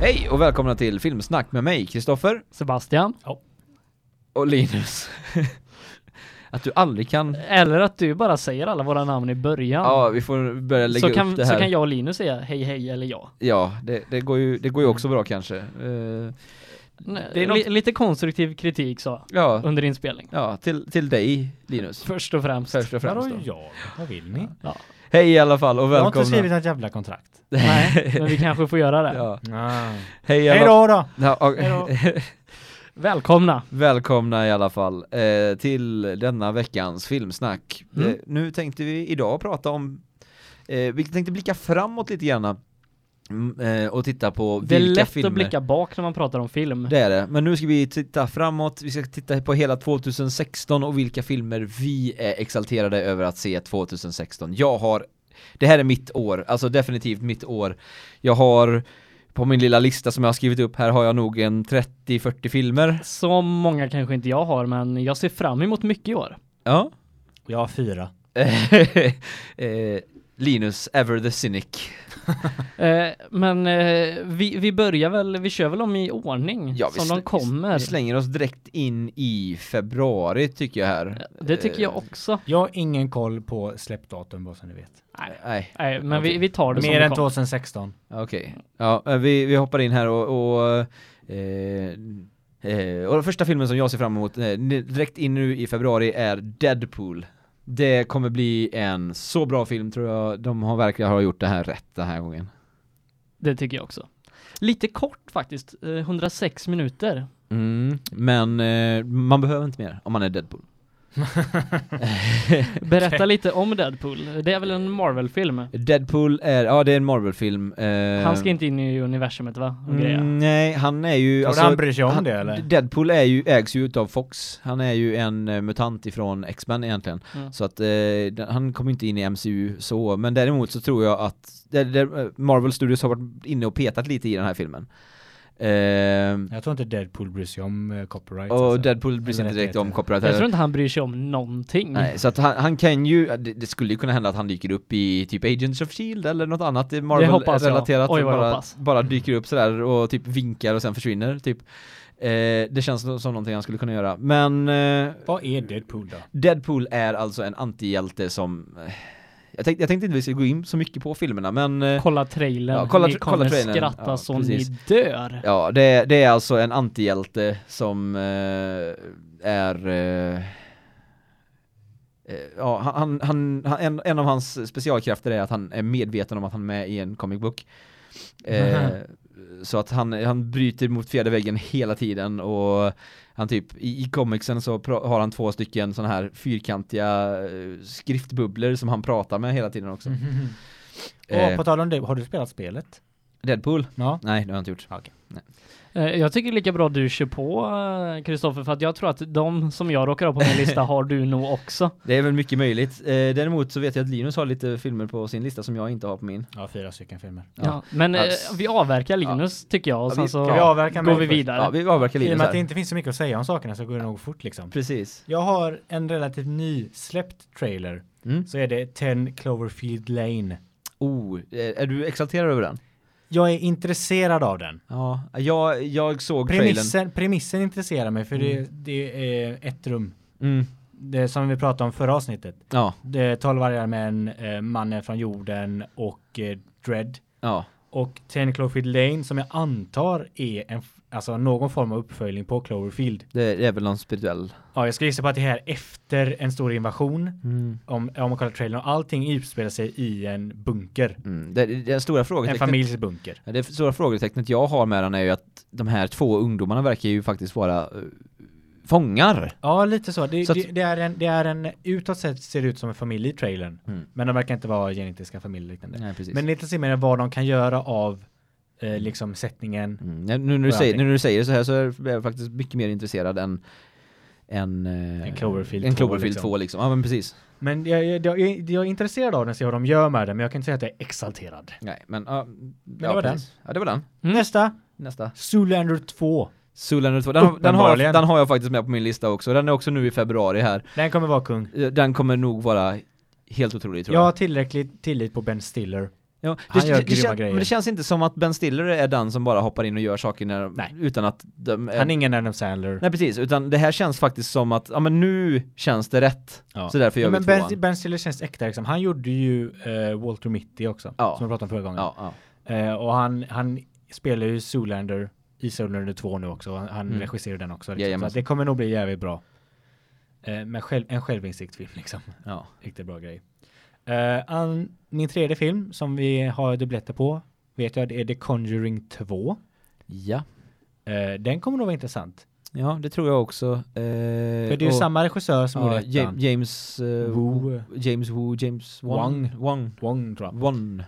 Hej och välkomna till Filmsnack med mig, Kristoffer Sebastian. och Linus. att du aldrig kan... Eller att du bara säger alla våra namn i början. Ja, vi får börja lägga så, upp kan, det här. så kan jag och Linus säga hej hej eller ja. Ja, det, det, går ju, det går ju också bra kanske. Eh, Det är Li- något- Lite konstruktiv kritik så, ja, under inspelning. ja till, till dig, Linus. Först och främst. Först och främst Vadå då. jag? Vad vill ni? Hej i alla fall och Jag har inte välkomna. skrivit något jävla kontrakt. Nej, men vi kanske får göra det. Ja. Nej. Hej i Hej alla... då då! Ja, och- Hej Välkomna. Välkomna i alla fall eh, till denna veckans filmsnack. Mm. Eh, nu tänkte vi idag prata om, eh, vi tänkte blicka framåt lite grann mm, eh, och titta på Det är vilka lätt filmer. att blicka bak när man pratar om film. Det är det, men nu ska vi titta framåt, vi ska titta på hela 2016 och vilka filmer vi är exalterade över att se 2016. Jag har, det här är mitt år, alltså definitivt mitt år. Jag har på min lilla lista som jag har skrivit upp här har jag nog en 30-40 filmer. Som många kanske inte jag har, men jag ser fram emot mycket i år. Ja. Jag har fyra. eh, Linus, ever the cynic. Eh, men eh, vi, vi börjar väl, vi kör väl om i ordning som de kommer. Vi slänger oss direkt in i februari tycker jag här. Det tycker jag Eh, också. Jag har ingen koll på släppdatum vad som ni vet. Nej, Nej, nej men Okej. vi, vi tar det som Mer det än kommer. 2016. okej. Ja, eh, vi, vi hoppar in här och, och eh, eh, och den första filmen som jag ser fram emot eh, ni- direkt in nu i februari är Deadpool. Det kommer bli en så bra film tror jag. De har verkligen har gjort det här rätt den här gången. Det tycker jag också. Lite kort faktiskt, eh, 106 minuter. Mm. Men eh, man behöver inte mer om man är Deadpool. Berätta lite om Deadpool. Det är väl en Marvel-film? Eh. Deadpool är, ja det är en Marvel-film. Eh, Han ska inte in i universumet va? Och grejer. mm, Nej, han är ju... alltså, Tror du han bryr sig om det, eller? Deadpool är ju, ägs ju utav Fox. Han är ju en eh, mutant ifrån X-Men egentligen. Mm. Så att eh, den- han kommer inte in i MCU så, men däremot så tror jag att där, där, eh, Marvel Studios har varit inne och petat lite i den här filmen. Eh, Jag tror inte Deadpool bryr sig om eh, copyright. och alltså. Deadpool blir Eller inte direkt rättigheter. om copyright Jag heller. tror inte han bryr sig om någonting. Nej, så att han, han kan ju, det, det skulle ju kunna hända att han dyker upp i typ Agents of Shield eller något annat eh, hoppas jag. Marvel-relaterat. Oj, vad jag bara, hoppas. bara dyker upp sådär och typ vinkar och sen försvinner typ. Eh, det känns som, som någonting han skulle kunna göra. Men eh, Vad är Deadpool då? Deadpool är alltså en antihjälte som, eh, jag, tänkte, jag tänkte inte vi skulle gå in så mycket på filmerna men eh, Kolla trailern, Ja, kolla ni tra- kommer kolla trailern. skratta Ja, så precis. ni dör. Ja, det, det är alltså en antihjälte som eh, är... Eh, eh, ja, han, han, han, han, en, en av hans specialkrafter är att han är medveten om att han är med i en comic book. Eh, så att han, han bryter mot fjärde väggen hela tiden och han typ, i, i comicsen så pra- har han två stycken sådana här fyrkantiga eh, skriftbubblor som han pratar med hela tiden också. Och Eh, Mm. på tal om det, har du spelat spelet? Deadpool? Ja. Nej, det har jag inte gjort. Eh, Jag tycker lika bra du kör på eh, Kristoffer för att jag tror att de som jag råkar ha på min lista har du nog också. Det är väl mycket möjligt. Eh, däremot så vet jag att Linus har lite filmer på sin lista som jag inte har på min. Ja, fyra stycken filmer. Ja. Ja. Men eh, vi avverkar Linus tycker jag och Ja, sen vi- så Ska vi går avverka mig vi först? vidare. Ja, vi avverkar I och Linus med att det här. inte finns så mycket att säga om sakerna så går det nog fort liksom. Precis. Jag har en relativt nysläppt trailer. Mm. Så är det 10 Cloverfield Lane. Oh, eh, är du exalterad över den? Jag är intresserad av den. Ja, jag, jag såg trailern. Premissen, premissen intresserar mig för det, det är ett rum. Mm. Det som vi pratade om förra avsnittet. Ja, Det är 12 vargar män, eh, mannen från jorden och eh, Dread. ja. Och 10 Cloverfield Lane som jag antar är en, f- alltså någon form av uppföljning på Cloverfield. Det, det är väl någon spirituell. Ja, jag skulle gissa på att det här är efter en stor invasion. Mm. Om, om man kollar trailern, och allting utspelar sig i en bunker. Mm. Det, det är stora En frågetecknet. familjs bunker. Ja, Det stora frågetecknet jag har med den är ju att de här två ungdomarna verkar ju faktiskt vara eh, fångar. Ja, lite så. Det, Så att- det, det, är en, det är en, utåt sett ser det ut som en familj i trailern. Mm. Men de verkar inte vara genetiska familjer liknande. Nej, precis. Men det intresserar mig vad de kan göra av eh, liksom sättningen. Mm. Ja, Nu när du Och säger, nu allting. när du säger det så här så är jag faktiskt mycket mer intresserad än en, En Cloverfield en 2, Cloverfield 2 liksom. liksom. Ja men precis. Men jag, jag, jag, är- jag är intresserad av den, se vad de gör med den, men jag kan inte säga att jag är exalterad. Nej, men ja, ja, det var precis. Ja, det var den. Nästa! Nästa. Zoolander 2. Zoolander 2. Den, har- den, har, jag- Uppenbarligen. den har jag faktiskt med på min lista också. Den är också nu i februari här. Den kommer vara kung. Den kommer nog vara helt otrolig tror Jag jag. har tillräckligt tillit på Ben Stiller. Ja, Han gör det, grymma kän- grejer. Men det känns inte som att Ben Stiller är den som bara hoppar in och gör saker när, Nej. utan att de, eh, Han är ingen Adam Sandler. Ehm. Nej precis, utan det här känns faktiskt som att, ja men nu känns det rätt. Ja. Så därför gör Ja, vi men tvåan. ben, ben Stiller känns äkta liksom. Han gjorde ju eh, Walter Mitty också. Ja. Som jag pratade om förra gången. Ja, ja. Eh, och han, han spelar ju Zoolander i Zoolander 2 nu också. Han, han Mm. regisserar den också. Liksom. Så Jajamän. att det kommer nog bli jävligt bra. Eh, men själv, en självinsiktsfilm liksom. ja. Riktigt bra grej. Eh, an, min tredje film som vi har dubbletter på vet jag det är The Conjuring 2. ja. Eh, den kommer nog vara intressant. Ja, det tror jag också. Eh, det För det är ju samma regissör som gjorde ja, Ja, ettan. James... eh, Wu. James Wu, James Wong. Wong. Wong. Wong, tror jag. Wong.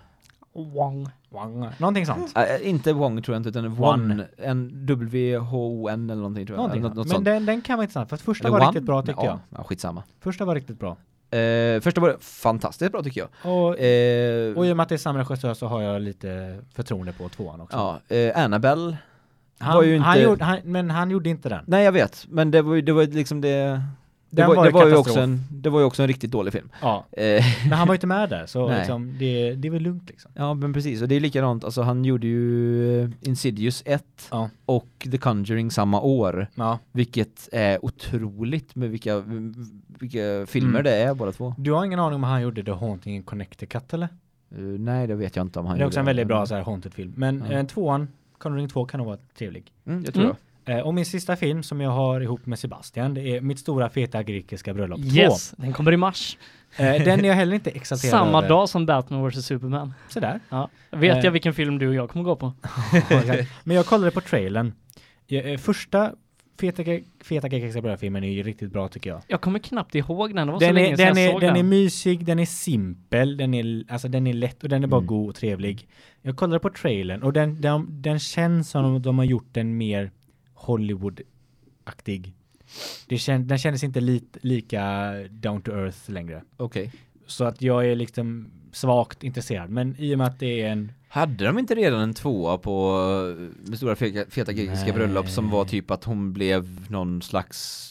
Wong. Wong. Någonting sånt. Eh, inte Wong tror jag inte, utan Wong. Wong. En W-H-O-N eller någonting tror jag. Någonting Något, något sånt. Men sånt. den, den kan vara intressant. För att första Eller var Wong? riktigt bra tycker ja, jag. Ja, skitsamma. Första var riktigt bra. Eh, första var fantastiskt bra tycker jag. Och, Eh, och i och med att det är samma regissör så har jag lite förtroende på tvåan också. ja, eh, Annabelle. han, var ju inte- han gjorde, han, men han gjorde inte den. Nej jag vet, men det var ju det var ju liksom det... Det Den var, var det ju var ju katastrof. också en, det var ju också en riktigt dålig film. Ja. Eh, Men han var ju inte med där så Nej. liksom, det, det är väl lugnt liksom. ja men precis, och det är likadant, alltså han gjorde ju eh, Insidious 1 Ja. och The Conjuring samma år, Ja. vilket är otroligt med vilka, vilka filmer Mm. det är båda två. Du har ingen aning om han gjorde The Haunting in Connecticut eller? Eh, nej det vet jag inte om han det är också gjorde en det, väldigt men- bra så här haunted film. Men Ja. eh, tvåan, Conjuring 2 kan nog vara trevlig. Mm, jag tror Mm. Eh, och min sista film som jag har ihop med Sebastian, det är Mitt stora feta grekiska bröllop 2. Yes, den kommer i mars. Eh, den är jag heller inte exalterad Samma över. dag som Batman vs Superman. Sådär. Ja. Vet Eh. jag vilken film du och jag kommer gå på? Men jag kollade på trailern. Ja, eh, Första Feta, Gre- feta grekiska bröllop-filmen är ju riktigt bra tycker jag. Jag kommer knappt ihåg den, det var så Den länge är, sedan den, jag är, såg den den. är mysig, den är simpel, den är, alltså, den är lätt och den är bara Mm. god och trevlig. Jag kollade på trailern och den, den, den känns som om de har gjort den mer Hollywood-aktig. Det kän, den kändes inte li, lika down to earth längre. det. Okej. Så att jag är liksom svagt intresserad. Men i och med att det är en... Hade de inte redan en tvåa på eh, med stora feta, feta grekiska Nej. bröllop som var typ att hon blev någon slags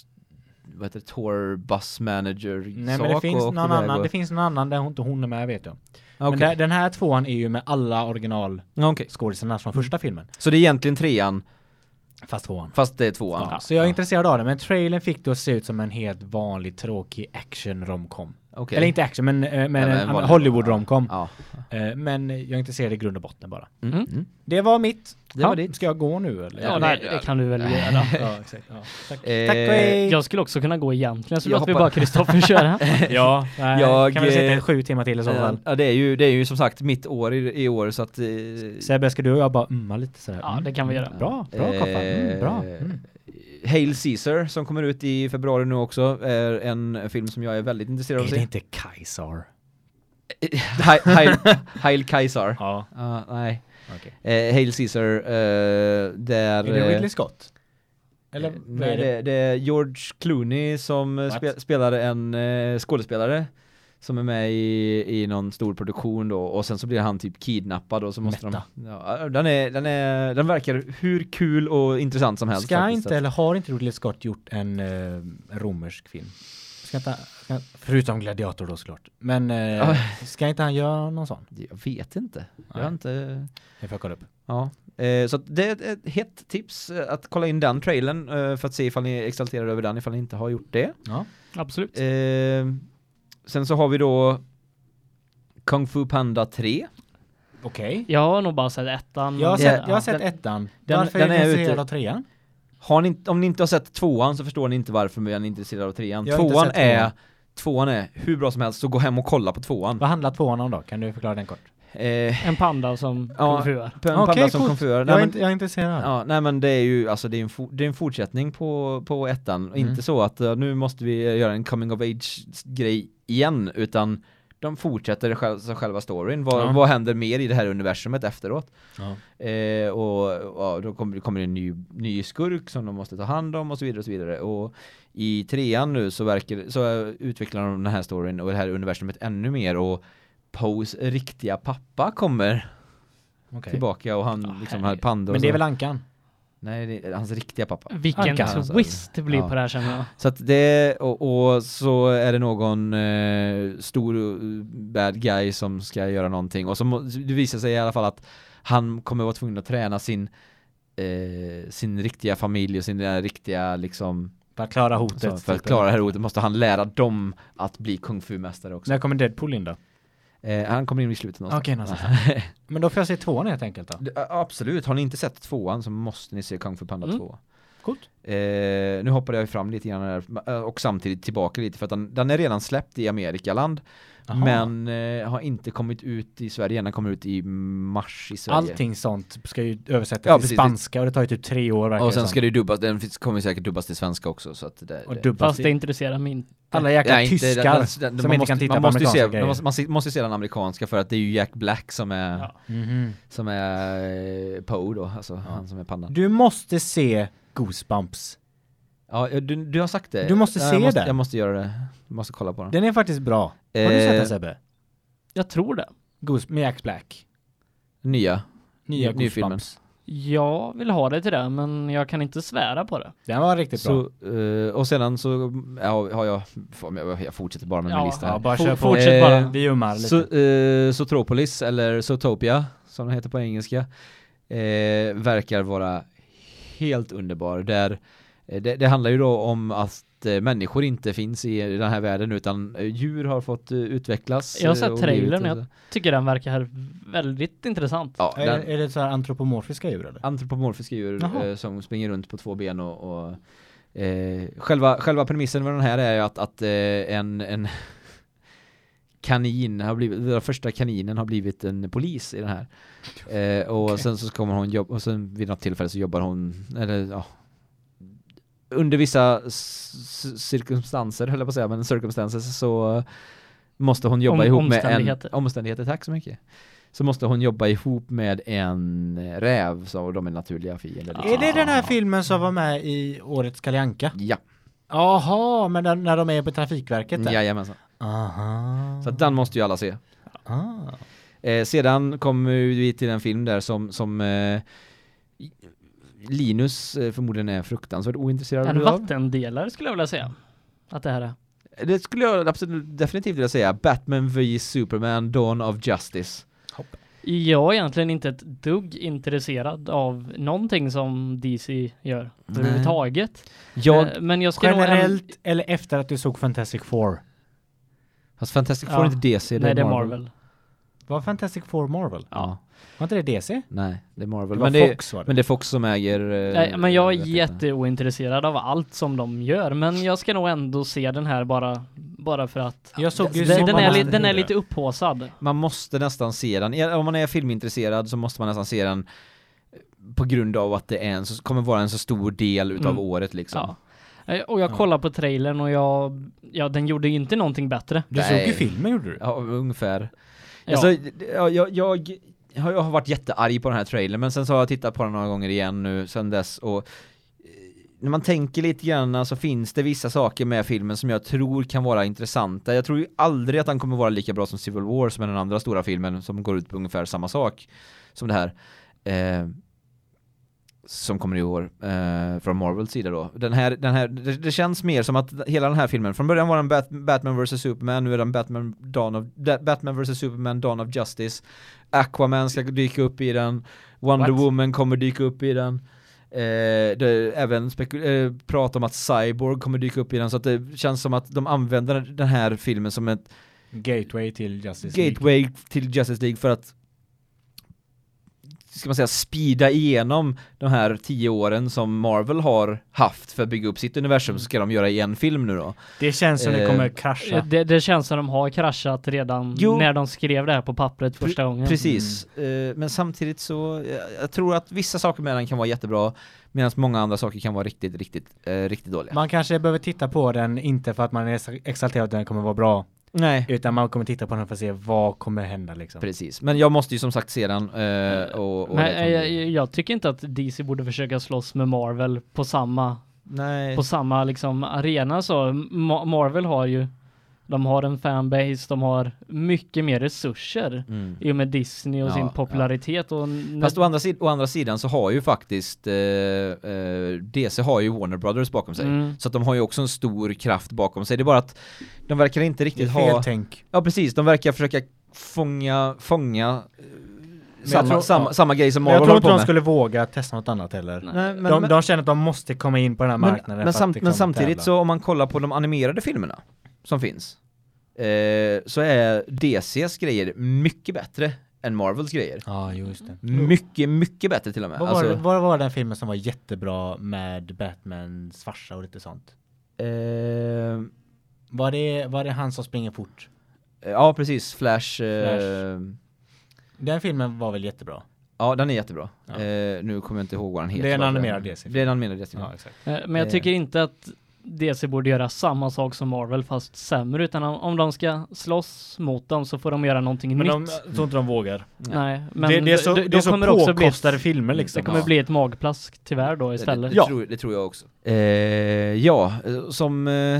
vad heter det, tour bus manager Nej men det finns, någon annan, det finns någon annan där hon inte hon är med vet jag. Men där, den här tvåan är ju med alla originalskådisarna från första filmen. Så det är egentligen trean, Fast tvåan. fast det är tvåan. Ja, så jag är intresserad av det, men trailern fick det att se ut som en helt vanlig tråkig action romcom. Okej. Eller inte action, men, eh, men, men en vanlig- Hollywood romcom. Ja. Eh, Men jag är intresserad i grund och botten bara. Mm. Mm. Mm. Det var mitt. Det var Ja, ditt. Ska jag gå nu eller? Ja, nej, det, det kan du väl göra. ja, exakt. Ja. Tack. Eh, Tack och hej! Jag skulle också kunna gå egentligen, så Jag låter vi hoppar- bara Kristoffer köra. Eh. Ja, nej, Jag, kan vi sitta i eh, sju timmar till i så fall. Ja det är ju, det är ju som sagt mitt år i, i år så att... eh, Sebbe, ska du och jag bara umma lite sådär? Ja, Mm. det kan vi göra. Bra, bra eh, Koffa. Mm, bra. Mm. Hail Caesar som kommer ut i februari nu också är en film som jag är väldigt intresserad av Är att det se. inte Kaisar? Hail- Hail- Hail Caesar. Ja, Ja, nej. okej. Eh, Hail Caesar, eh, där... Är det eh, Ridley Scott? Eller eh, vad nej, är det? det, det är George Clooney som eh, What? spe, spelar en eh, skådespelare som är med i, i någon stor produktion då och sen så blir han typ kidnappad och så måste Meta. de... Ja, den, är, den, är, den verkar hur kul och intressant som helst. Ska faktiskt. inte, eller har inte Ridley Scott gjort en eh, romersk film? Ska inte, ska, förutom Gladiator då såklart. Men eh, ska inte han göra någon sån? Jag vet inte. Jag Nej. har inte... Det får jag kolla upp. Ja. Eh, så att det är ett- ett hett tips eh, att kolla in den trailern eh, för att se ifall ni är exalterade över den, ifall ni inte har gjort det. Ja. Absolut. Eh, sen så har vi då Kung Fu Panda 3. Okej. Jag har nog bara sett ettan. eh, Jag har men- Ja. sett, jag har sett Den- ettan. den- Varför den är är du intresserad ute. av trean? Har ni, inte- om ni inte har sett tvåan så förstår ni inte varför vi är intresserade av trean. Jag har inte Tvåan sett är, tvåan. tvåan är hur bra som helst, så gå hem och kolla på tvåan. Vad handlar tvåan om då? Kan du förklara den kort? Eh, En panda som Ja. kung fu är. P- en Okej, panda som coolt. kom för. Jag är, Nej, men, inte, jag är intresserad. ja, nej men det är ju, alltså det är en, for, det är en fortsättning på, på ettan. Och Mm. Inte så att eh, nu måste vi eh, göra en coming of age grej igen, utan de fortsätter själva, själva storyn. Vad, Ja. vad händer mer i det här universumet efteråt? Ja. Eh, och ja, då kommer, kommer det en ny, ny skurk som de måste ta hand om och så vidare och så vidare. Och i trean nu så, verkar, så eh, utvecklar de den här storyn och det här universumet ännu mer och Poes riktiga pappa kommer okej. tillbaka och han Ah, liksom herregud. har pandor. Men det är och så. väl Mm. Ankan? Nej, det är hans riktiga pappa. Vilken Anka. twist det blir Ja. på det här känner jag. Så att det, och, och så är det någon eh, stor eh, bad guy som ska göra någonting och så må- det visar sig i alla fall att han kommer vara tvungen att träna sin eh, sin riktiga familj och sin eh, riktiga liksom För att klara hotet. så för att typ. klara det här ordet måste han lära dem att bli kung fu-mästare också. När kommer Deadpool in då? Eh, han kommer in i slutet någonstans. Okej, någonstans. Men då får jag se tvåan helt enkelt då. Det- a- Absolut, har ni inte sett tvåan så måste ni se Kung Fu Panda Mm. 2. Coolt. Eh, nu hoppade jag ju fram lite grann här, eh, och samtidigt tillbaka lite för att den, den är redan släppt i Amerikaland Aha. men eh, har inte kommit ut i Sverige än, den kommer ut i mars i Sverige. Allting sånt ska ju översättas Ja, till precis. spanska och det tar ju typ tre år verkar Och det sen ska som. det ju dubbas, den finns- kommer säkert dubbas till svenska också så att det, Och det- dubbas Fast i- det intresserar mig inte. Alla jäkla Nej, inte- tyskar den- den- som den- man inte måste- kan titta man på måste ju se, amerikanska man, grejer. måste, man se- måste se den amerikanska för att det är ju Jack Black som är, Ja. Mhm. som är eh, Poe då, alltså han som är pandan. Du måste se Goosebumps. Ja, eh, du, du har sagt det. Du måste Ja, se jag måste, den. Jag måste göra det. Jag måste kolla på den. Den är faktiskt bra. Har du sett Eh, den Sebbe? Jag tror det. Goose med Jack Black. Nya. Nya Ny- ny filmen. Goosebumps. Jag vill ha det till det, men jag kan inte svära på det. Den var riktigt bra. Så, eh, och sedan så ja, har jag, fan, jag, jag fortsätter bara med Ja, min lista Ja, här. bara For- kör på. fortsätt bara. Eh, Vi ummar lite. Så, eh, Zootropolis, eller Zootopia, som den heter på engelska, eh, verkar vara helt underbar. Där, eh, det, det handlar ju då om att eh, människor inte finns i den här världen utan eh, djur har fått eh, utvecklas. Jag har eh, sett och trailern, blivit- jag tycker den verkar här väldigt intressant. Ja, är, den, är det så här antropomorfiska djur eller? antropomorfiska djur Jaha. eh, som springer runt på två ben och, och eh, själva, själva premissen med den här är ju att, att eh, en, en kanin har blivit, den första kaninen har blivit en polis i den här. Eh, och Okej. sen så kommer hon jobba, och sen vid något tillfälle så jobbar hon, eller ja, under vissa s- cirkumstanser, höll jag på att säga, men circumstances så måste hon jobba Om- ihop med en, omständigheter. omständigheter, tack så mycket. Så måste hon jobba ihop med en räv, så de är naturliga fiender. liksom. Ja. Är det den här filmen som var med i årets Kalianka? Ja, Jaha, men den, när de är på Trafikverket där? jajamensan. Aha. Så att den måste ju alla se. ah. Eh, sedan kommer vi till en film där som, som eh, Linus eh, förmodligen är fruktansvärt ointresserad En av. vattendelare skulle jag vilja säga. Att det här är. Det skulle jag absolut definitivt vilja säga. Batman v Superman Dawn of Justice. Jag är egentligen inte ett dugg intresserad av någonting som DC gör Nej. överhuvudtaget. Jag, Eh, Men jag ska nog ändå- Generellt eller efter att du såg Fantastic Four? fast Fantastic Four Ja. är inte DC, det Nej, är det är Marvel. Marvel. Var Fantastic Four Marvel? Ja, Var inte det DC? nej, det är Marvel. Det men, var det, Fox var det. men det är Fox som äger... eh, Nej, men jag är rättigheterna. jätteointresserad av allt som de gör, men jag ska nog ändå se den här bara, bara för att Jag såg ju det- så den, den, många är, li- andra den är gjorde. lite upphåsad. Man måste nästan se den, Ja, om man är filmintresserad så måste man nästan se den eh, på grund av att det är en, så kommer vara en så stor del utav Mm. året liksom. Ja. Eh, Och jag Ja. kollade på trailern och jag, ja den gjorde ju inte någonting bättre. Du såg Nej. ju filmen gjorde du? Ja, ungefär. Ja. Alltså, det- ja, jag, jag, jag har- jag har varit jättearg på den här trailern, men sen så har jag tittat på den några gånger igen nu sen dess och eh, när man tänker lite grann så finns det vissa saker med filmen som jag tror kan vara intressanta. Jag tror ju aldrig att den kommer vara lika bra som Civil War som är den andra stora filmen som går ut på ungefär samma sak som det här. Eh, som kommer i år eh, från Marvels sida då. Den här, den här, det, det känns mer som att hela den här filmen, från början var den Bat Batman vs Superman, nu är den Batman, Dawn of, Da- Batman vs Superman, Dawn of Justice, Aquaman ska dyka upp i den, Wonder What? Woman kommer dyka upp i den, eh, det, även speku- eh, prat om att Cyborg kommer dyka upp i den, så att det känns som att de använder den här filmen som ett Gateway till Justice League. gateway till Justice League för att ska man säga speeda igenom de här tio åren som Marvel har haft för att bygga upp sitt universum så ska de göra i en film nu då. Det känns som det Eh, kommer Eh, krascha. Det, det känns som de har kraschat redan Jo. när de skrev det här på pappret första gången. Precis, Mm. Eh, men samtidigt så eh, jag tror att vissa saker med den kan vara jättebra medan många andra saker kan vara riktigt, riktigt, eh, riktigt dåliga. Man kanske behöver titta på den, inte för att man är så exalterad att den kommer vara bra, Nej. utan man kommer titta på den för att se vad kommer hända liksom. Precis, men jag måste ju som sagt se den eh, och, och det Mm. Men kommer jag, bli- jag tycker inte att DC borde försöka slåss med Marvel på samma Nej. på samma liksom arena så. Ma- Marvel har ju De har en fanbase, de har mycket mer resurser Mm. i och med Disney och Ja, sin ja. popularitet. Och n- Fast å andra, sid- å andra sidan så har ju faktiskt eh, eh, DC har ju Warner Brothers bakom sig. Mm. Så att de har ju också en stor kraft bakom sig. Det är bara att de verkar inte Det är riktigt fel ha... tänk. Ja precis, de verkar försöka fånga, fånga eh, samma, tror- samma, ja. samma grej som Men jag Marvel tror håller inte på de med. skulle våga testa något annat heller. Nej, men, de, men, de känner att de måste komma in på den här men, marknaden. men, för samt, att liksom men samtidigt tävla. så om man kollar på de animerade filmerna som finns eh, så är DCs grejer mycket bättre än Marvels grejer. Ja, just det. Mycket, mycket bättre till och med. Vad, Alltså, var, det- vad var den filmen som var jättebra med Batmans farsa och lite sånt? eh, Var det, var det han som springer fort? Eh, Ja, precis. Flash. eh, Flash. Den filmen var väl jättebra? ja, den är jättebra. Ja. Eh, nu kommer jag inte ihåg vad den heter. Det är en bara för animerad den. DC. Det är en animerad DC. Ja. exakt. Eh, Men jag Eh. tycker inte att DC borde göra samma sak som Marvel fast sämre utan om, om de ska slåss mot dem så får de göra någonting Men nytt. de, jag tror inte de vågar. Nej, men det, det är så, de, det är de så kommer också bli ett, påkostade filmer liksom. det kommer Ja. bli ett magplask tyvärr då istället. Det, det, Ja. tror, det tror jag också. Eh, ja, eh, som... Eh,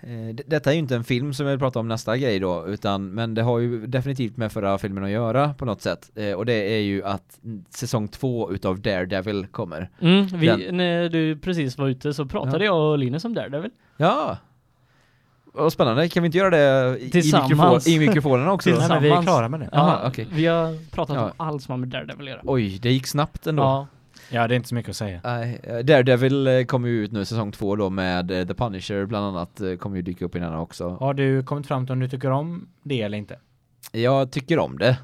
eh, d- detta är ju inte en film som jag vill prata om nästa grej då, utan, men det har ju definitivt med förra filmen att göra på något sätt. Eh, och det är ju att mm, säsong två utav Daredevil kommer. Mm, vi, Den- när du precis var ute så pratade jag och Linus om Daredevil. Ja! Vad spännande, kan vi inte göra det i, i, mikrofon, Tillsammans. i mikrofonerna också? då? Nej, men vi är klara med det. Jaha, Ja, okej. Vi har pratat om Ja. allt som har med Daredevil att göra. Oj, det gick snabbt ändå. Ja, Ja, det är inte så mycket att säga. Nej, eh, Daredevil eh, kommer ju ut nu säsong två då med eh, The Punisher bland annat eh, kommer ju dyka upp i den här också. Har du kommit fram till om du tycker om det eller inte? Jag tycker om det.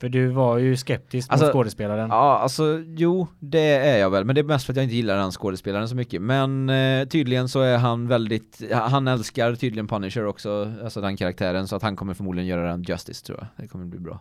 För du var ju skeptisk Alltså- mot skådespelaren. Ja, alltså jo, det är jag väl, men det är mest för att jag inte gillar den skådespelaren så mycket. Men eh, tydligen så är han väldigt, ja, han älskar tydligen Punisher också, alltså den karaktären, så att han kommer förmodligen göra den justice tror jag. Det kommer bli bra.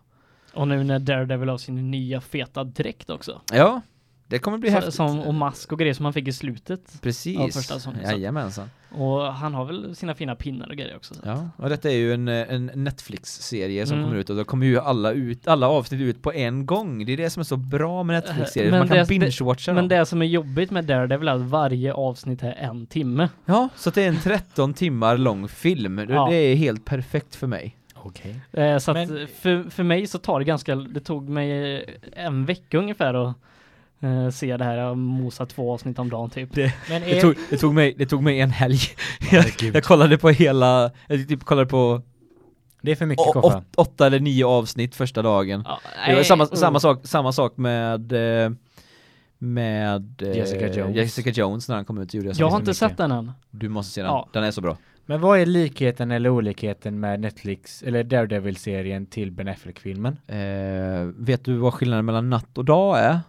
och nu när Daredevil har sin nya feta dräkt också. Ja, det kommer bli häftigt. Som, och mask och grejer som han fick i slutet. Precis. Ja, första säsongen, så. Jajamensan. Och han har väl sina fina pinnar och grejer också. Så. Ja, och detta är ju en, eh, en Netflix-serie som Mm. kommer ut och då kommer ju alla, ut, alla avsnitt ut på en gång. Det är det som är så bra med Netflix-serier, Eh, Men man kan det- binge-watcha Men dem. det som är jobbigt med Daredevil är att varje avsnitt är en timme. Ja, så att det är en 13 timmar lång film. Det, Ja. det är helt perfekt för mig. Okej. Eh, så att Men- för, för mig så tar det ganska, det tog mig eh, en vecka ungefär att eh, se det här, jag mosa två avsnitt om dagen typ. Men Det är, tog, det tog, mig, det tog mig en helg. Herregud. jag kollade på hela, jag typ kollade på det är för mycket å, koffa. åt, åtta eller nio avsnitt första dagen. Ja, Det var nej, samma, mm. samma, sak, samma sak med eh, med eh, Jessica Jones. Jessica Jones när han kom ut gjorde Jag jag har så inte mycket. sett den än. Du måste se den, Ja. den är så bra. Men vad är likheten eller olikheten med Netflix eller Daredevil-serien till Ben Affleck-filmen? Eh, vet du vad skillnaden mellan natt och dag är?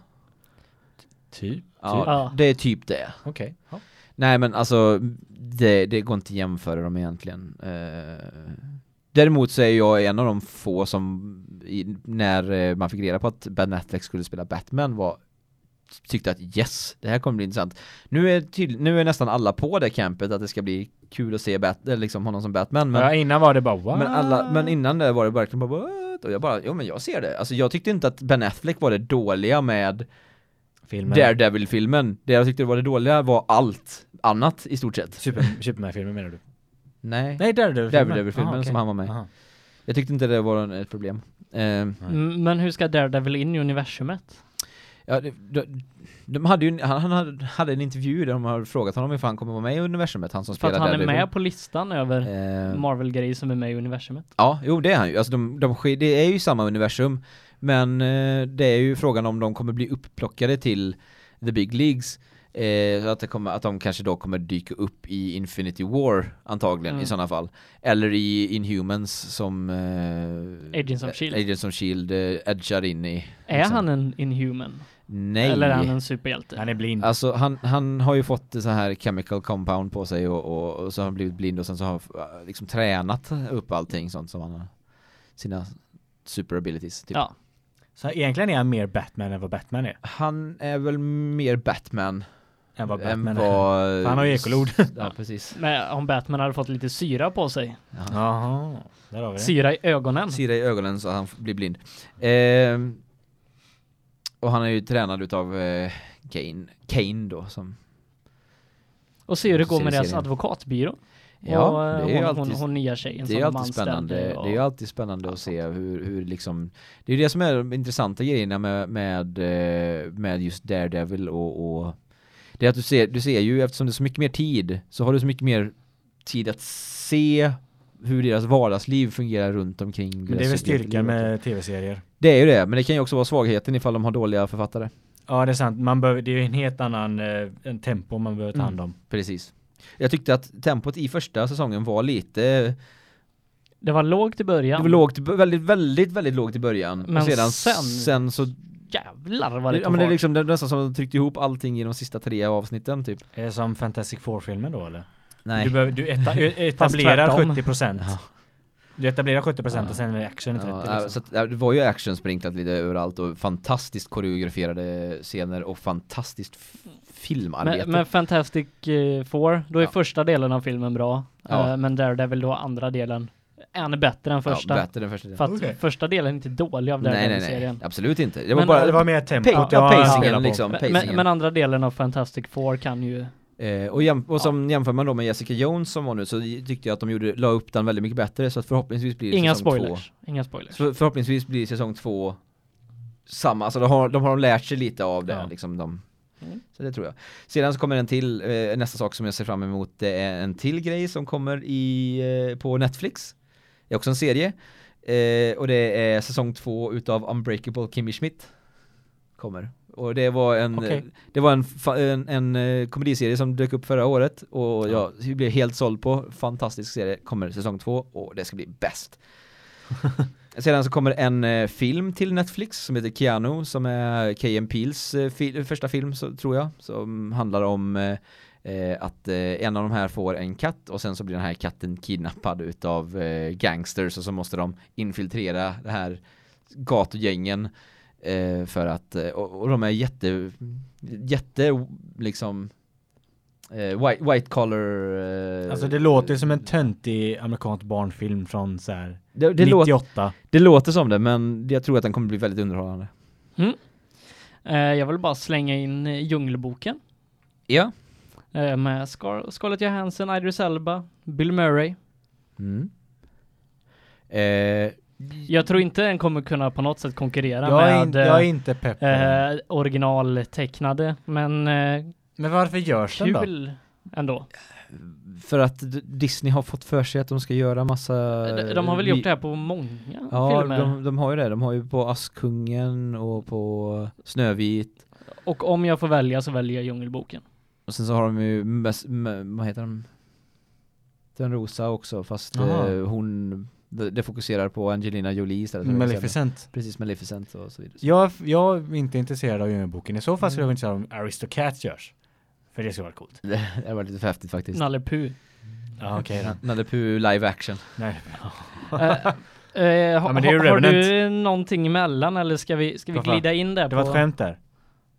Typ. Ja, Ja. det är typ det. Okej. Ja. Nej men alltså, det, det går inte att jämföra dem egentligen. Eh, däremot så är jag en av de få som, i, när eh, man fick reda på att Ben Affleck skulle spela Batman var tyckte att yes, det här kommer bli intressant. Nu är, tydl- nu är nästan alla på det campet att det ska bli kul att se Bat- eller liksom honom som Batman men ja, innan var det bara wow. Men, alla, men innan det var det verkligen bara What? Och jag bara, jo men jag ser det. Alltså jag tyckte inte att Ben Affleck var det dåliga med filmen. Daredevil-filmen. Det jag tyckte var det dåliga var allt annat i stort sett. Super, Superman-filmen menar du? Nej. Ah, Nej, Daredevil-filmen. Daredevil-filmen Aha, som okej. han var med i. Aha. Jag tyckte inte det var en, ett problem. Eh, Nej. Mm, Men hur ska Daredevil in i universumet? ja, det- de, de hade ju, en- han, han hade- hade en intervju där de har frågat honom ifall han kommer vara med i universumet, han som För att spelar han är Daredevil. med på listan över Eh, Marvel-grejer som är med i universumet. Ja, jo det är han ju. Alltså de, de, sk- det är ju samma universum. Men eh, det är ju frågan om de kommer bli upplockade till the big leagues. Eh, så att, det kommer, att de kanske då kommer dyka upp i Infinity War antagligen Mm. i sådana fall. Eller i Inhumans som eh, Agents of Shield. Agents of Shield eh, edgar in i. E Är liksom. han en inhuman? Nej. Eller är han en superhjälte? Han är blind. Alltså han, han har ju fått så här chemical compound på sig och, och, och så har han blivit blind och sen så har han eh, liksom tränat upp allting sånt som han har sina super abilities typ. Ja. Så egentligen är han mer Batman än vad Batman är. Han är väl mer Batman Än vad än Batman är. vad... För han har ju ekolod. Ja precis. Men om Batman hade fått lite syra på sig. Ja. Jaha, där har vi det. Syra i ögonen. Sira i ögonen så han f- blir blind. Ehm, och han är ju tränad utav eh, Kane, Kane då som Och se hur det går med deras Serien. advokatbyrå. Ja, och eh, det är ju hon, alltid- hon, hon nya tjejen Det är som ju de alltid anställde spännande, och- det är ju alltid spännande att se hur, hur liksom Det är ju det som är de intressanta grejerna med, med, eh, med just Daredevil och, och Det är att du ser, du ser ju eftersom det är så mycket mer tid så har du så mycket mer tid att se hur deras vardagsliv fungerar runt omkring Men det är deras väl subjektiva styrkan liv. med tv-serier. Det är ju det, men det kan ju också vara svagheten ifall de har dåliga författare Ja, det är sant. Man behöver, det är ju en helt annan eh, en tempo man behöver ta Mm. hand om. Precis Jag tyckte att tempot i första säsongen var lite Det var lågt i början. Det var lågt, väldigt, väldigt, väldigt lågt i början Men Och sedan, sen- sen så Jävlar vad det ja, tog men det är fart. liksom det är nästan som att de tryckte ihop allting i de sista tre avsnitten typ. Är det som Fantastic Four-filmen då eller? Du, Nej. behöver, du eta, ö- etablerar tvärtom. 70 procent. Ja. Du etablerar 70 procent Ja. och sen är det action i 30 Ja, liksom. så att, ja, det var ju action sprinklat lite överallt och fantastiskt koreograferade scener och fantastiskt f- filmarbete. Men, men Fantastic eh, Four, då är Ja. första delen av filmen bra. Ja. Eh, men Daredevil då andra delen, ännu bättre än första. Ja, bättre den första. För att Okej. första delen är inte dålig av nej, nej, nej. Daredevil-serien. Absolut inte. Det var Men, bara ja, det var mer tempot. pa- jag ja, spelar pacingen på. liksom. Men- Pacingen. Men, men andra delen av Fantastic Four kan ju, Eh, och, jäm- och som jämför man då med Jessica Jones som var nu så tyckte jag att de gjorde, la upp den väldigt mycket bättre så att förhoppningsvis blir det inga säsong två. spoilers. Inga spoilers. Så förhoppningsvis blir säsong två samma, alltså de har de, har de lärt sig lite av det Ja. liksom de Mm. så det tror jag. Sedan så kommer en till, eh, nästa sak som jag ser fram emot det är en till grej som kommer i, eh, på Netflix. Det är också en serie. Eh, och det är säsong två utav Unbreakable Kimmy Schmidt. Kommer. Och det var en, Okej. det var en, fa- en, en eh, komediserie som dök upp förra året och jag blev helt såld på. Fantastisk serie. Kommer säsong två och det ska bli bäst. Sedan så kommer en eh, film till Netflix som heter Keanu som är K.M. Peels eh, fil- första film så, tror jag som handlar om eh, eh, att eh, en av de här får en katt och sen så blir den här katten kidnappad utav eh, gangsters och så måste de infiltrera det här gatugängen eh, för att eh, och, och de är jätte jätte liksom eh, white, white collar eh, Alltså det låter ju som en töntig amerikansk barnfilm från så här det, det, låter, 98. det låter som det men jag tror att den kommer bli väldigt underhållande Eh, jag vill bara slänga in eh, Djungelboken Ja. eh, med Scar- Scarlett Johansson, Idris Elba, Bill Murray. Mm. Eh, Jag tror inte den kommer kunna på något sätt konkurrera Jag är, med in, jag är inte pepp. på den. eh, originaltecknade, men eh, Men varför görs den då? kul ändå. för att D- Disney har fått för sig att de ska göra massa... De, de har väl gjort det här på många Eh, Ja, filmer. de, de har ju det. De har ju på Askungen och på Snövit. Och om jag får välja så väljer jag Djungelboken. Och sen så har de ju, mest, m- vad heter de? Törnrosa också, fast Jaha. eh, hon... Det, det fokuserar på Angelina Jolie istället. för- Maleficent. Precis, Maleficent och så vidare. Jag, jag är inte intresserad av Djungelboken. I så fall skulle jag vara intresserad av om Aristocats görs. För det skulle vara coolt. Det det var lite för häftigt faktiskt. Nalle Puh. Ja okej då. Nalle Puh live action. Nej. Eh, eh, ha, men det är ju har du Revenant. någonting emellan eller ska vi, ska vi Vad fan? glida in där Det var på... ett skämt där.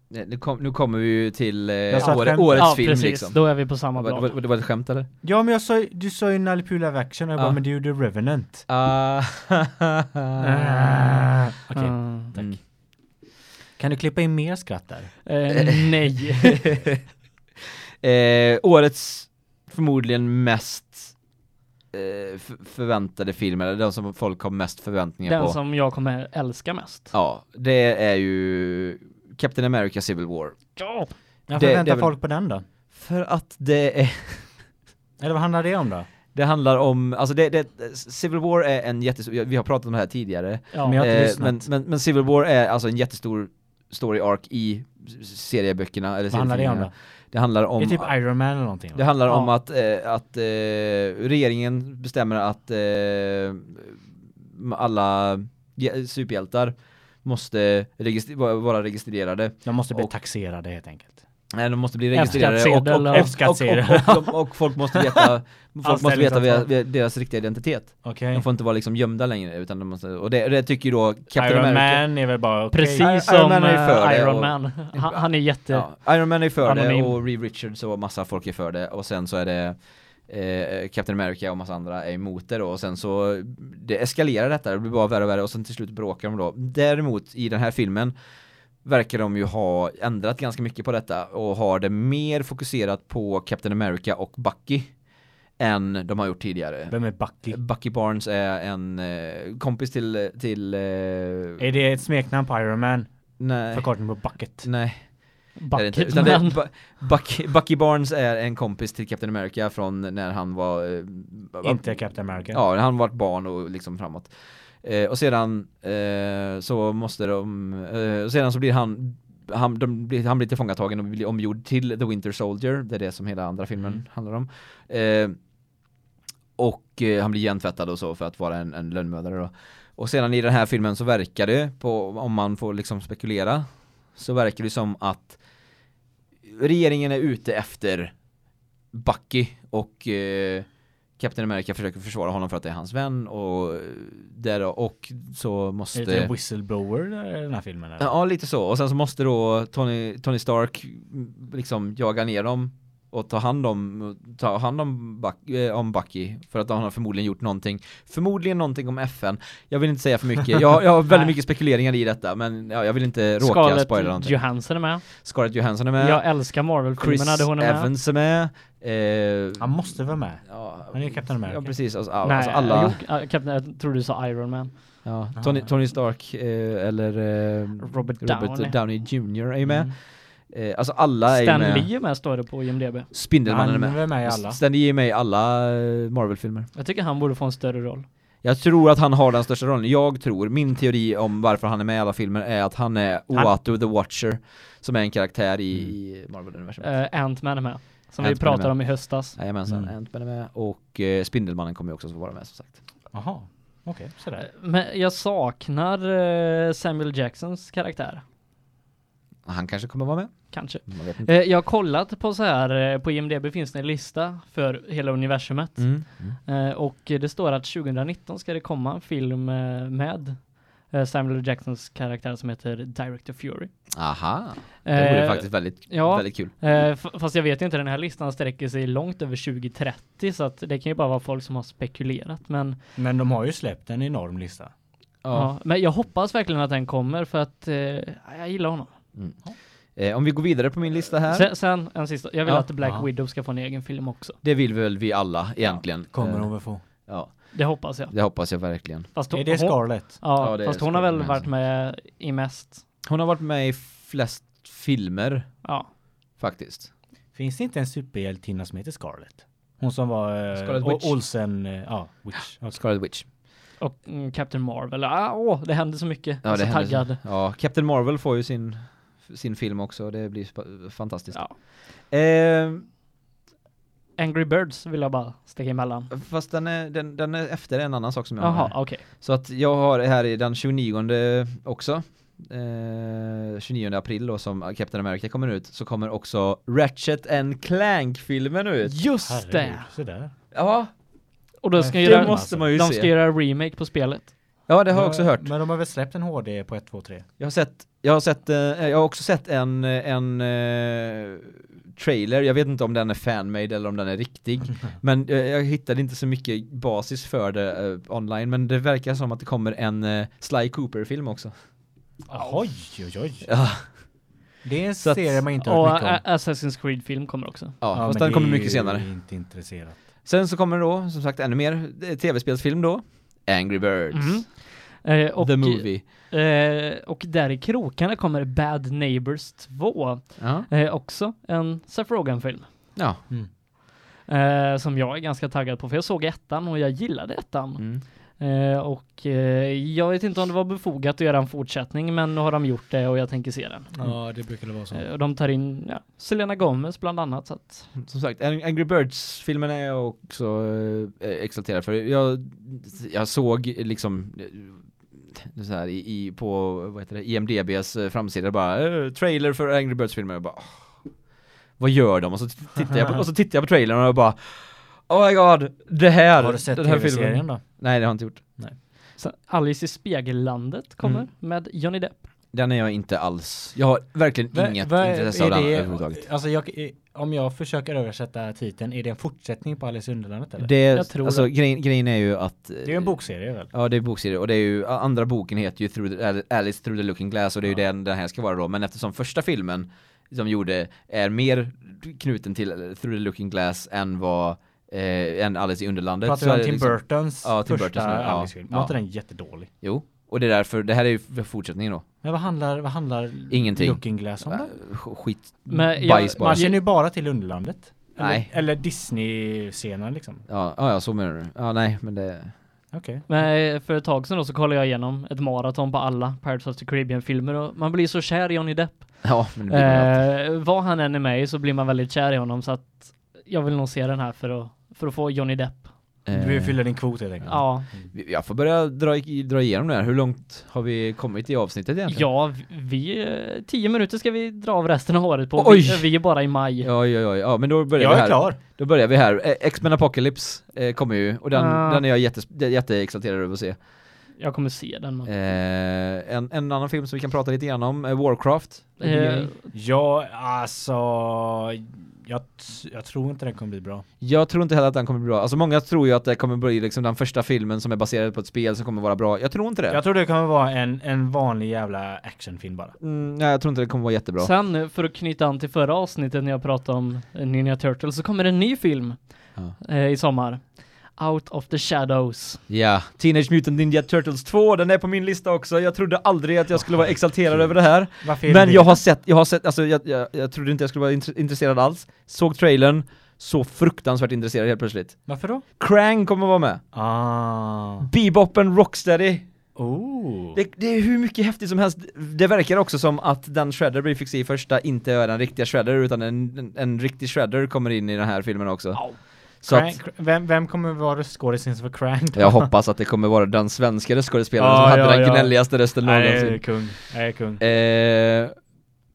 Nej, Nu, kom, nu kommer vi ju till eh, sa åre- skämt. årets ja, film precis. liksom. Då är vi på Det samma var, plan. det, var, det var ett skämt eller? Ja men jag sa ju, du sa ju Nalle Puh Live Action och jag bara Ja. men det är ju The Revenant. Ah. Ah, Okej. Mm. Mm. Kan du klippa in mer skratt där? Eh, nej. eh, årets förmodligen mest eh, f- förväntade film, eller den som folk har mest förväntningar Den på. som jag kommer älska mest. Ja, det är ju Captain America Civil War. Ja. Varför Det- väntar det- folk på den då? För att det är Eller vad handlar det om då? det handlar om, alltså det, det, Civil War är en jättestor, vi har pratat om det här tidigare, Men jag- har inte Eh, lyssnat. men, men, men Civil War är alltså en jättestor story arc i s- serieböckerna eller Vad handlar det om serietidningarna. då? Det handlar om Det är typ Iron Man eller någonting. Det handlar om Ja. att, eh, att eh, regeringen bestämmer att eh, alla ge- superhjältar måste registr- va- vara registrerade. De måste bli Och- taxerade helt enkelt. Nej, de måste bli registrerade och, och, och, F-skattsedel och- F-skattsedel. och, och, och, och folk måste veta, folk måste veta Anställningsavtal. via- via deras riktiga identitet. Okej. De får inte vara liksom gömda längre utan de måste, och det, det tycker ju då Captain Iron America. Man är väl bara okej. Precis Iron som Man är ju eh, för det Iron och- Man. Han, han är jätte... Ja, eh, Iron Man är för Anonym. det och Reeve Richards och massa folk är för det och sen så är det eh, Captain America och massa andra är emot det då och sen så det eskalerar detta, det blir bara värre och värre och sen till slut bråkar de då. Däremot i den här filmen verkar de ju ha ändrat ganska mycket på detta och har det mer fokuserat på Captain America och Bucky än de har gjort tidigare. Vem är Bucky? Bucky Barnes är en eh, kompis till, till eh, Är det ett smeknamn på Iron Man? nej, Förkortning på Bucket. nej, det är det inte. Utan det, Bucketman. Bu- Bucky, Bucky Barnes är en kompis till Captain America från när han var eh, Inte Captain America. Ja, han var ett barn och liksom framåt. Eh, och sedan eh, så måste de, eh, och sedan så blir han, han, de blir, han blir tillfångatagen och blir omgjord till The Winter Soldier, det är det som hela andra filmen Mm. handlar om. Eh, och eh, han blir gentvättad och så för att vara en, en lönnmördare då. Och sedan i den här filmen så verkar det, på, om man får liksom spekulera, så verkar det som att regeringen är ute efter Bucky och eh, Captain America försöker försvara honom för att det är hans vän och eh, där då, och så Är det måste en whistleblower i den här filmen? Eller? Ja, lite så. Och sen så måste då Tony, Tony Stark mm, liksom jaga ner dem och ta hand om, ta hand om, Buck, eh, om Bucky. För att han har förmodligen gjort någonting, förmodligen någonting om FN. Jag vill inte säga för mycket, jag, jag har väldigt Nej. mycket spekuleringar i detta men ja, jag vill inte råka spoila Scarlett någonting. Johansson är med. Scarlett Johansson är med, Jag älskar Chris Marvel-filmerna där hon är med. Evans är med. Eh, Han måste vara med. ja, han är ju Captain America. Ja precis, alltså, all- Nej, alltså alla, jo, äh, Captain, jag tror du sa Iron Man. ja, Tony, Tony Stark eh, eller eh, Robert Downey. Downey Jr är ju med. Mm. Eh, alltså alla är ju Stan med. Lee är med står det på IMDB. Spindelmannen är Han med. är med i alla. Stan Lee är med i alla eh, Marvel-filmer. Jag tycker han borde få en större roll. Jag tror att han har den största rollen. Jag tror, min teori om varför han är med i alla filmer är att han är Han- Oatu the Watcher, som är en karaktär i, i Marvel-universumet. Eh, Ant-Man är med. Som vi Ant-Man är pratade med. om i höstas. Jajamensan, Mm. Ant-Man är med och eh, Spindelmannen kommer ju också få vara med som sagt. Jaha. Okej, Eh, sådär. Men jag saknar eh, Samuel Jacksons karaktär. Han kanske kommer vara med? Kanske. Man vet inte. Eh, Jag har kollat på så här, eh, på IMDB finns det en lista för hela universumet. Mm. Mm. Eh, Och det står att 2019 ska det komma en film eh, med eh, Samuel L. Jacksons karaktär som heter Director Fury. Aha, det vore Eh, faktiskt väldigt, ja. väldigt kul. eh, f- Fast jag vet inte, den här listan sträcker sig långt över 2030 så att det kan ju bara vara folk som har spekulerat. Men, Men de har ju släppt en enorm lista. ja. men jag hoppas verkligen att den kommer för att eh, jag gillar honom. Eh, om vi går vidare på min lista här. Sen, sen en sista, jag vill Ja. att Black Ja. Widow ska få en egen film också. Det vill väl vi alla egentligen. Kommer Eh, de väl få? Ja, Det hoppas jag. det hoppas jag verkligen. Fast Är hon- det hon- Scarlett? Ja, Ja, det är fast hon har väl Scarlett varit med i mest. Hon har varit med i flest filmer Ja, faktiskt. Finns det inte en superhjältinna som heter Scarlett? Hon som var... Scarlet Scarlett Witch. Olsen... eh, Ja, Witch. Ja, Scarlet Witch. och mm, Captain Marvel. Ah, åh, det händer så mycket. Ja, jag är det så händer- Alltså, taggad. Ja, Captain Marvel får ju sin, sin film också, det blir sp- fantastiskt. Ja. Eh, Angry Birds vill jag bara sticka emellan. fast den är, den, den är efter en annan sak som jag har. Jaha, här. okej. Så att jag har det här i den 29 också. Eh, 29 april då som Captain America kommer ut så kommer också Ratchet and Clank-filmen ut. Just det! herregud, Sådär. Ja, Och då ska Det jag det göra, måste man ju de ska se. göra remake på spelet. alltså. Ja, det har jag också hört. Men de har väl släppt en HD på 1, 2, 3? Jag har sett, jag har sett, eh, jag har också sett en, en eh, trailer, jag vet inte om den är fanmade eller om den är riktig. Men eh, jag hittade inte så mycket basis för det eh, online, men det verkar som att det kommer en eh, Sly Cooper-film också. Oj, oj, oj. Ja, Det är en Så att- serie man inte Och hört mycket om. Ä- Assassin's Creed-film kommer också. ja, äh, Ja, fast men den kommer det är mycket senare. inte intresserat. Sen så kommer då, som sagt, ännu mer eh, tv-spelsfilm då. Angry Birds. Mm. Eh, och, The Movie. Eh, och där i krokarna kommer Bad Neighbors 2. Ja. Eh, också en Seth Rogen-film. ja. Mm. Eh, som jag är ganska taggad på, för jag såg ettan och jag gillade ettan. Mm. Eh, och eh, jag vet inte om det var befogat att göra en fortsättning, men nu har de gjort det och jag tänker se den. Ja, det brukar det vara så. Eh, och de tar in ja, Selena Gomez bland annat. Så att, Som sagt, Ang- Angry Birds-filmen är jag också eh, exalterad för. Jag, jag såg liksom eh, så här, i, i, på vad heter det, IMDBs eh, framsida bara eh, trailer för Angry Birds-filmen. Jag bara "Åh, vad gör de? Och så t- tittar jag på, och så tittar jag på trailern och jag bara Oh my god, det här! Har du sett den här filmen." tv-serien då? Nej det har jag inte gjort. så Alice i Spegellandet kommer Mm. med Johnny Depp. Den är jag inte alls, jag har verkligen Va- inget va- intresse är av den det- överhuvudtaget. Alltså jag, eh, om jag försöker översätta titeln, är det en fortsättning på Alice i Underlandet eller? Det, Det, Jag tror alltså det. grejen, grejen är ju att är ju en bokserie väl? Ja det är bokserie och det är ju, a- andra boken heter ju through the, Alice through the looking glass och det är ju Ja. den den här ska vara då men eftersom första filmen som gjorde är mer knuten till Through the looking glass än vad eh, än Alice i Underlandet. Pratar så vi är om det Tim liksom- Burtons Ja, Tim första Burtons nu, ja. Alice-film? Var Ja. inte den jättedålig? Jo, och det är därför, det här är ju fortsättningen då. Men vad handlar, vad handlar Ingenting. Looking Glass om då? Äh, sk- Skit, Men jag- bajs bara. Man känner ju bara till Underlandet. Eller, Nej. eller Disney-scenen liksom. Ja, ja, ja, så menar du. Ja, nej, men det... Okej. Men eh, för ett tag sedan då så kollade jag igenom ett maraton på alla Pirates of the Caribbean-filmer och man blir så kär i Johnny Depp. Ja, men det blir äh, Eh, vad han än är med i så blir man väldigt kär i honom så att jag vill nog se den här för att, för att få Johnny Depp. Eh. Du vill fylla din kvot helt enkelt. Ja, Jag får börja dra, i- dra igenom det här. Hur långt har vi kommit i avsnittet egentligen? ja vi, eh, tio minuter ska vi dra av resten av året på. Oj! Vi, vi är bara i maj. Ja, ja, ja, ja, men då börjar vi Jag här. är klar. Då börjar vi här. Eh, X-Men Apocalypse eh, kommer ju och den, Ja. den är jag jättes, jätteexalterad över att se. Jag kommer se den. man. Eh, en, en annan film som vi kan prata lite grann om, eh, Warcraft. Eh, Ja, alltså... Jag, t- jag tror inte den kommer bli bra. Jag tror inte heller att den kommer bli bra. Alltså många tror ju att det kommer bli liksom den första filmen som är baserad på ett spel som kommer vara bra. Jag tror inte det. Jag tror det kommer vara en, en vanlig jävla actionfilm bara. Mm, nej, jag tror inte det kommer vara jättebra. Sen eh, för att knyta an till förra avsnittet när jag pratade om eh, Ninja Turtles så kommer en ny film Ja. eh, i sommar. Out of the Shadows. Ja, Teenage Mutant Ninja Turtles 2, den är på min lista också. Jag trodde aldrig att jag skulle vara exalterad över det här. Varför är Men det jag har sett, jag har sett, alltså jag, jag, jag trodde inte jag skulle vara int- intresserad alls. Såg trailern, så fruktansvärt intresserad helt plötsligt. Varför då? Krang kommer vara med. Ah. Beboppen Rocksteady. Oh. Det, det är hur mycket häftigt som helst. Det verkar också som att den Shredder vi fick se i första inte är den riktiga Shredder utan en, en, en riktig Shredder kommer in i den här filmen också. Au. Så att, Crank- vem, vem kommer vara röstskådisen för Crank? jag hoppas att det kommer vara den svenska röstskådespelaren som Ja, hade ja, den ja. gnälligaste rösten Nej, jag någonsin. är kung. Jag är kung. Eh,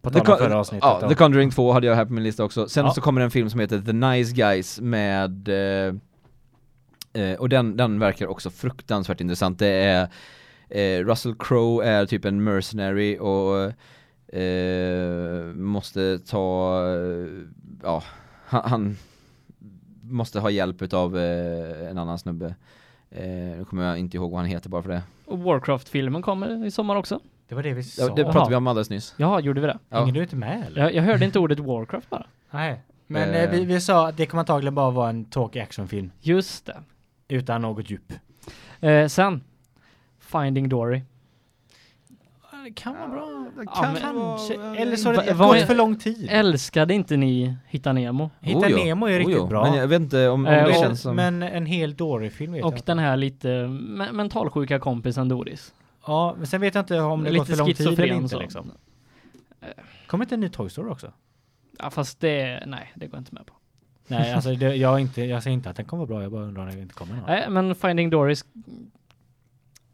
På The tal om Con- förra avsnittet. Ja, då. The Conjuring 2 hade jag här på min lista också. Sen Ja. så kommer en film som heter The Nice Guys med eh, eh, och den, den verkar också fruktansvärt intressant. Det är eh, Russell Crowe är typ en mercenary och eh, måste ta eh, ja, han, han måste ha hjälp av eh, en annan snubbe. Eh, nu kommer jag inte ihåg vad han heter bara för det. Och Warcraft-filmen kommer i sommar också. det var det vi Ja, sa. det pratade Jaha. vi om alldeles nyss. Ja, gjorde vi det? Ja. Hänger du inte med eller? Jag, jag hörde inte ordet Warcraft bara. Nej. Men Eh. eh, vi, vi sa att det kommer antagligen bara vara en tråkig actionfilm. Just det. Utan något djup. Eh, sen, Finding Dory. Det kan vara bra. Ja, men- Kanske. Eller så har Va- det vad är- gått för lång tid. Älskade inte ni Hitta Nemo? Hitta Ojo, Nemo är riktigt ojo. bra. Oh, Men jag vet inte om, om Eh, det och- känns som... Men en hel Dory-film vet Och jag den inte. här lite me- mentalsjuka kompisen Doris. Ja, men sen vet jag inte om det har gått lite för lång tid eller schizofren inte så. liksom. Kommer inte en ny Toy Story också? Ja, fast det, nej, det går jag inte med på. Nej, alltså det, jag, är inte, jag säger inte att den kommer vara bra, jag bara undrar när det inte kommer någon. Nej, men Finding Doris.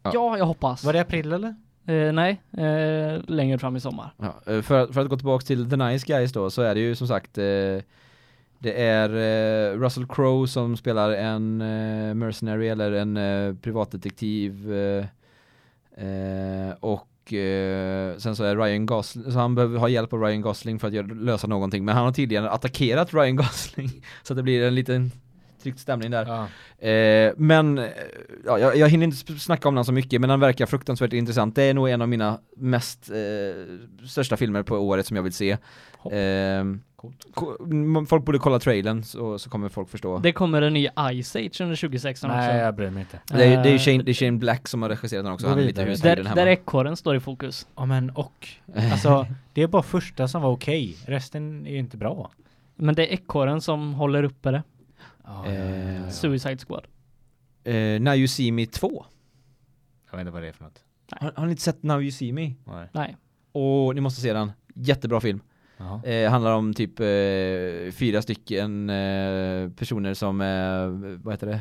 Ja. Ja, jag hoppas. Var det april eller? Eh, nej, eh, längre fram i sommar. Ja, eh, för, att- för att gå tillbaka till The Nice Guys då så är det ju som sagt eh, det är eh, Russell Crowe som spelar en eh, mercenary eller en eh, privatdetektiv eh, eh, och eh, sen så är Ryan Gosling, så han behöver ha hjälp av Ryan Gosling för att göra, lösa någonting men han har tidigare attackerat Ryan Gosling så att det blir en liten tryckt stämning där. Ja. Eh, men eh, ja, jag, jag hinner inte sp- snacka om den så mycket men den verkar fruktansvärt intressant. Det är nog en av mina mest eh, största filmer på året som jag vill se. Hopp. Eh, Coolt. ko- m- folk borde kolla trailern så, så kommer folk förstå. Det, Det kommer en ny Ice Age under 2016 Nej, också. jag bryr mig inte. är, det, är ju eh, Shane, det är Shane Black som har regisserat den också, Gå han är lite vidare. husguden Där, där hemma. ekorren står i fokus. Ja men och, alltså det är bara första som var okej, resten är ju inte bra. Men det är ekorren som håller uppe det. ja, ja, ja. Suicide Squad. Eh, Now You See Me 2. Jag vet inte vad det är för något. Har, har ni inte sett Now You See Me? Nej. Nej. Och ni måste se den. Jättebra film. Jaha. Eh, handlar om typ eh, fyra stycken eh, personer som är, vad heter det,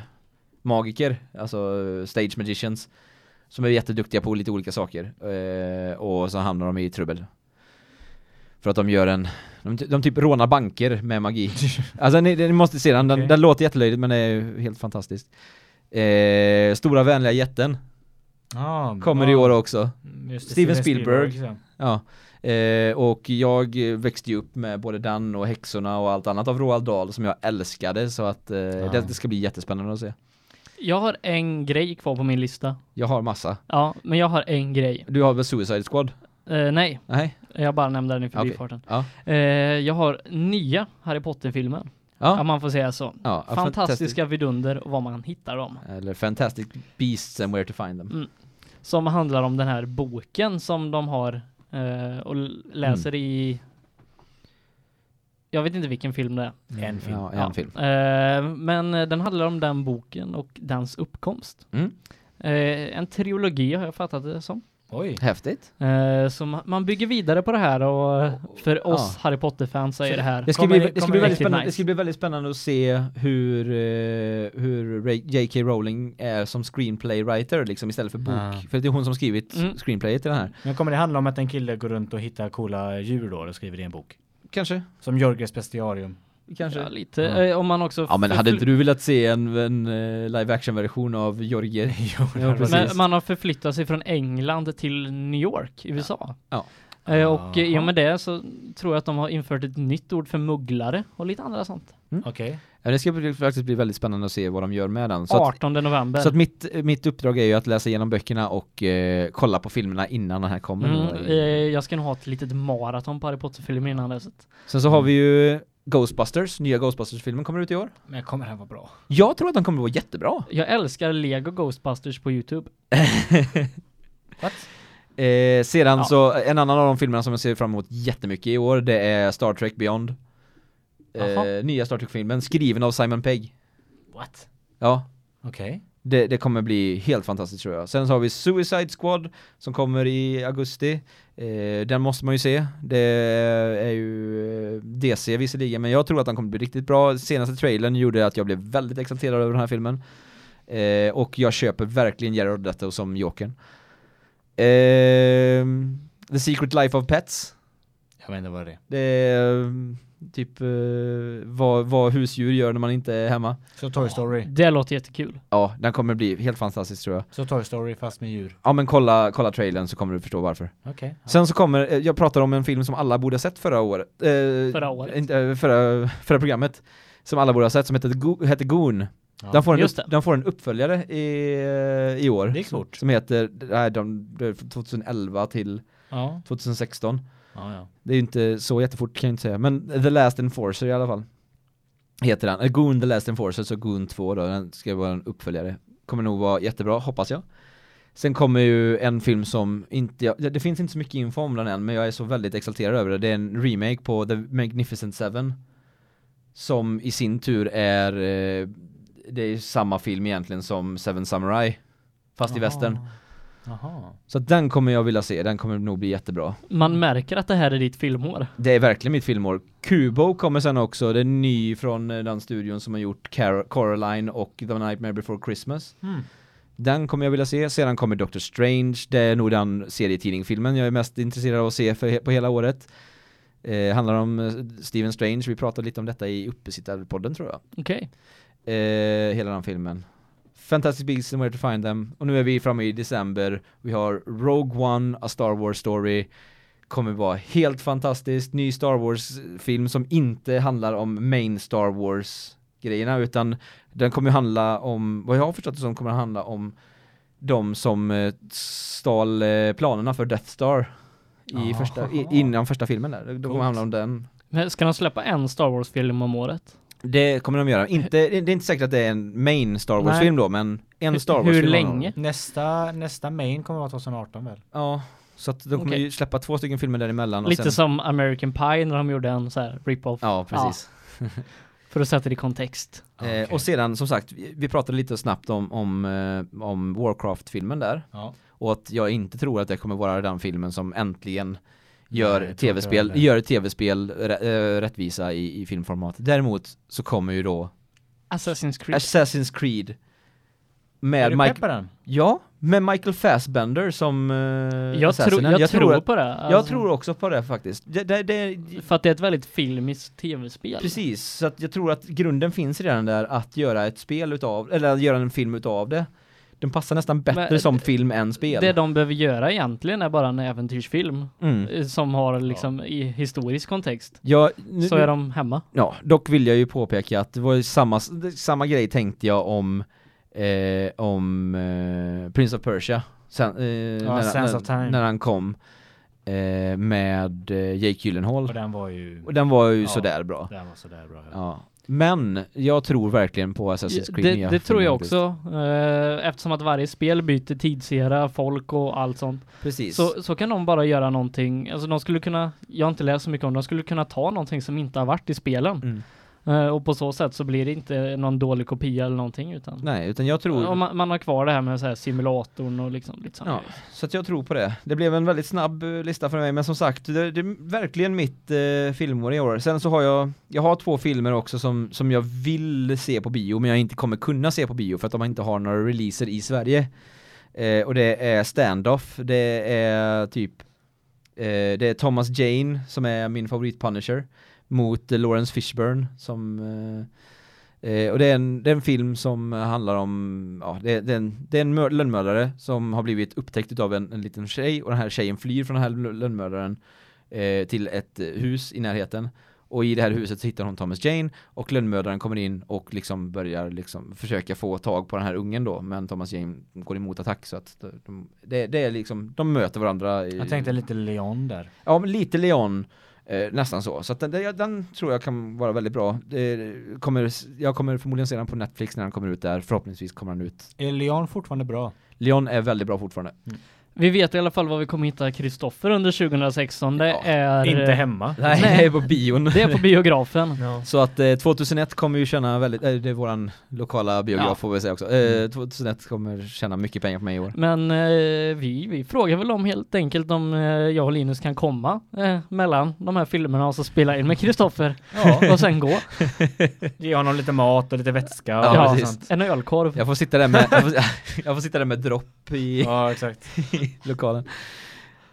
magiker, alltså eh, stage magicians. Som är jätteduktiga på lite olika saker. Eh, och så hamnar de i trubbel. För att de gör en, de, ty- de typ rånar banker med magi. Alltså ni, ni måste se den, den, Okej. den låter jättelöjligt men det är ju helt fantastiskt. Eh, Stora vänliga jätten Ja, kommer ja. i år också. Mm, just det, Steven Spielberg. liksom. Ja, eh, och jag eh, växte ju upp med både den och häxorna och allt annat av Roald Dahl som jag älskade så att eh, det, det ska bli jättespännande att se. Jag har en grej kvar på min lista. Jag har massa. Ja, men jag har en grej. Du har väl Suicide Squad? Eh, nej, Nej? jag bara nämnde den i Okej. förbifarten. Ja. Eh, jag har nya Harry Potter-filmen. Ja, man får säga så. ja, ja, Fantastiska vidunder och var man hittar dem. fantastic- Eller Fantastic Beasts and Where to Find Them. Mm. Som handlar om den här boken som de har eh, och l- läser Mm. i jag vet inte vilken film det är. liksom. En film. Ja, en Ja. film. Eh, men den handlar om den boken och dens uppkomst. Mm. Eh, en trilogi har jag fattat det som. Oj. Häftigt. Eh, så ma- man bygger vidare på det här och för oss Harry Potter-fans så är det här. Det ska, Kommer- bli, det, ska kommer bli det väldigt riktigt spännande, nice? det ska bli väldigt spännande att se hur, eh, hur Ray- J.K. Rowling är som screenplay writer liksom istället för bok. Ah. För det är hon som skrivit Mm. screenplayet till den här. Men kommer det handla om att en kille går runt och hittar coola djur då och skriver det i en bok? Kanske. Som Jörges bestiarium. Kanske. Ja, lite. Ja. Eh, om man också Ja men hade förfly- inte du velat se en, en eh, live action version av Jorge? jo, det Ja, hade precis. varit- Men man har förflyttat sig från England till New York, USA. Ja. Eh, Och eh, i och Aha. med det så tror jag att de har infört ett nytt ord för mugglare och lite andra sånt. Okej. Ja, Det ska bli- faktiskt bli väldigt spännande att se vad de gör med den. Så att, 18 november. så att mitt, mitt uppdrag är ju att läsa igenom böckerna och eh, kolla på filmerna innan den här kommer. mm, nu. eh, jag ska nog ha ett litet maraton på Harry Potter-filmer innan dess. Sen så har vi ju Ghostbusters, nya Ghostbusters-filmen kommer ut i år. Men kommer den vara bra? Jag tror att den kommer att vara jättebra. Jag älskar Lego Ghostbusters på Youtube. Eh, sedan Ja. så, en annan av de filmerna som jag ser fram emot jättemycket i år, det är Star Trek Beyond. Jaha. Eh, nya Star Trek-filmen, skriven av Simon Pegg. What? Ja, Okej. det, det kommer bli helt fantastiskt tror jag. Sen så har vi Suicide Squad som kommer i augusti. Eh, den måste man ju se. Det är ju eh, DC visserligen, men jag tror att den kommer bli riktigt bra. Senaste trailern gjorde att jag blev väldigt exalterad över den här filmen. Eh, och jag köper verkligen Jared Leto som Jokern. Ehm, The Secret Life of Pets. Jag vet inte vad det är. Det är eh, typ eh, vad, vad husdjur gör när man inte är hemma. Så Toy Story. Det låter jättekul. Ja, den kommer bli helt fantastisk tror jag. Så Toy Story fast med djur. Ja men kolla, kolla trailern så kommer du förstå varför. Okej. Sen så kommer, eh, jag pratar om en film som alla borde ha sett förra året. Eh, Förra året. inte, eh, förra, förra programmet. Som alla borde ha sett som heter, Go- heter Goon. Ja. Den, får en just upp, det. den får en uppföljare i, eh, i år. Det är stort. Som heter, nej, de, det är från 2011 till Ja. 2016. Ja, ja. Det är ju inte så jättefort kan jag inte säga. Men The Last Enforcer i alla fall. Heter den. Eh, Goon The Last Enforcer, så Goon 2 då. Den ska vara en uppföljare. Kommer nog vara jättebra, hoppas jag. Sen kommer ju en film som inte, jag- det det finns inte så mycket info om den än, men jag är så väldigt exalterad över det. Det är en remake på The Magnificent Seven. Som i sin tur är, eh, det är ju samma film egentligen som Seven Samurai. Fast i Aha. västern. Jaha. Så att den kommer jag vilja se, den kommer nog bli jättebra. Man märker att det här är ditt filmår. Det är verkligen mitt filmår. Kubo kommer sen också, det är ny från eh, den studion som har gjort Car- Coraline och The Nightmare Before Christmas. Mm. Den kommer jag vilja se, sedan kommer Doctor Strange, det är nog den serietidningfilmen jag är mest intresserad av att se för he- på hela året. Eh, handlar om eh, Stephen Strange, vi pratade lite om detta i Uppesittarpodden tror jag. Okej. Eh, hela den filmen. Fantastic Beasts and Where to Find Them. Och nu är vi framme i december. Vi har Rogue One, A Star Wars Story. Kommer vara helt fantastiskt. Ny Star Wars-film som inte handlar om main Star Wars-grejerna utan den kommer ju handla om, vad jag har förstått det som, kommer handla om de som eh, stal eh, planerna för Death Star i Aha. första, i, innan första filmen där. De Coolt. kommer handla om den. Men Ska de släppa en Star Wars-film om året? Det kommer de göra. Inte, det är inte säkert att det är en main Star Wars-film då, men en Hur- Star Wars-film. hur har de. länge? Nästa, nästa main kommer vara 2018 väl? Ja, så att de kommer Okej. ju släppa två stycken filmer däremellan. Och Lite sen, som American Pie när de gjorde en så här rip-off. Ja, precis. För att sätta det i kontext. Eh, Okej. Och sedan, som sagt, vi vi pratade lite snabbt om, om, eh, om Warcraft-filmen där. Ja. Och att jag inte tror att det kommer vara den filmen som äntligen gör Nej, jag tror tv-spel, inte heller. gör tv-spel rä- eh, rättvisa i, i filmformat. Däremot så kommer ju då Assassin's Creed. Assassin's Creed Är med du Mike, pepp på den? ja, med Michael Fassbender som uh, jag, tror, jag, tror att, på det. jag alltså. tror också på det faktiskt. Det, det, det, För att det är ett väldigt filmiskt tv-spel. Precis, så att jag tror att grunden finns redan där att göra ett spel utav, eller att göra en film utav det. Den passar nästan bättre Men- eh, som film än spel. Det de behöver göra egentligen är bara en äventyrsfilm mm. eh, som har liksom i historisk kontext. Ja, nu, Så är de hemma. ja, dock vill jag ju påpeka att det var ju samma, det- samma grej tänkte jag om, eh, om eh, Prince of Persia. Sen, eh, när, Sands när, of Time. när han kom eh, med eh, Jake Och Gyllenhaal. den var ju... Och den var ju Ja. sådär bra. Den var sådär bra. Ja. Men jag tror verkligen på Assassin's Creed Det, nya det tror jag filmen faktiskt. också. Eh, Eftersom att varje spel byter tidsera, folk och allt sånt. Precis. Så, så kan de bara göra någonting, alltså de skulle kunna, jag har inte läst så mycket om det, de skulle kunna ta någonting som inte har varit i spelen. Mm. Eh, och på så sätt så blir det inte någon dålig kopia eller någonting utan Nej, utan jag tror... och man, man har kvar det här med så här simulatorn och liksom lite sånt. Ja, så att jag tror på det. Det blev en väldigt snabb eh, lista för mig, men som sagt, det, det är verkligen mitt eh, filmår i år. Sen så har jag, jag har två filmer också som, som jag vill se på bio, men jag inte kommer kunna se på bio för att de inte har några releaser i Sverige. Eh, och det är Standoff, det är typ, eh, det är Thomas Jane som är min favorit-punisher mot eh, Lawrence Fishburne som eh, Eh, och det är, en, det är en film som handlar om, ja, det, det, är en, det är en mör- lönnmördare som har blivit upptäckt av en, en liten tjej och den här tjejen flyr från den här lö- lönnmördaren eh, till ett eh, hus i närheten. Och i det här huset så hittar hon Thomas Jane och lönnmördaren kommer in och liksom börjar liksom försöka få tag på den här ungen då men Thomas Jane går emot attack så att de, det, det är liksom, de möter varandra. i- Jag tänkte lite Leon där. Ja, men lite Leon. Eh, nästan så. Så att den, den, den tror jag kan vara väldigt bra. Det kommer, jag kommer förmodligen se den på Netflix när den kommer ut där. Förhoppningsvis kommer den ut. Är Leon fortfarande bra? Leon är väldigt bra fortfarande. Vi vet i alla fall vad vi kommer hitta Kristoffer under 2016. Det Ja, är Inte eh, hemma. Nej, det är på bion. Det är på biografen. Så att eh, 2001 kommer ju känna väldigt, eh, det är våran lokala biograf Ja. får vi säga också. Eh, 2001 kommer tjäna mycket pengar på mig i år. Men eh, vi, vi frågar väl om helt enkelt om eh, jag och Linus kan komma eh, mellan de här filmerna och så spela in med Kristoffer Ja. och sen gå. Ge honom lite mat och lite vätska och Ja, ja, precis. sånt. en ölkorv. Jag får sitta där med, jag får, jag får sitta där med dropp i Ja, exakt. lokalen.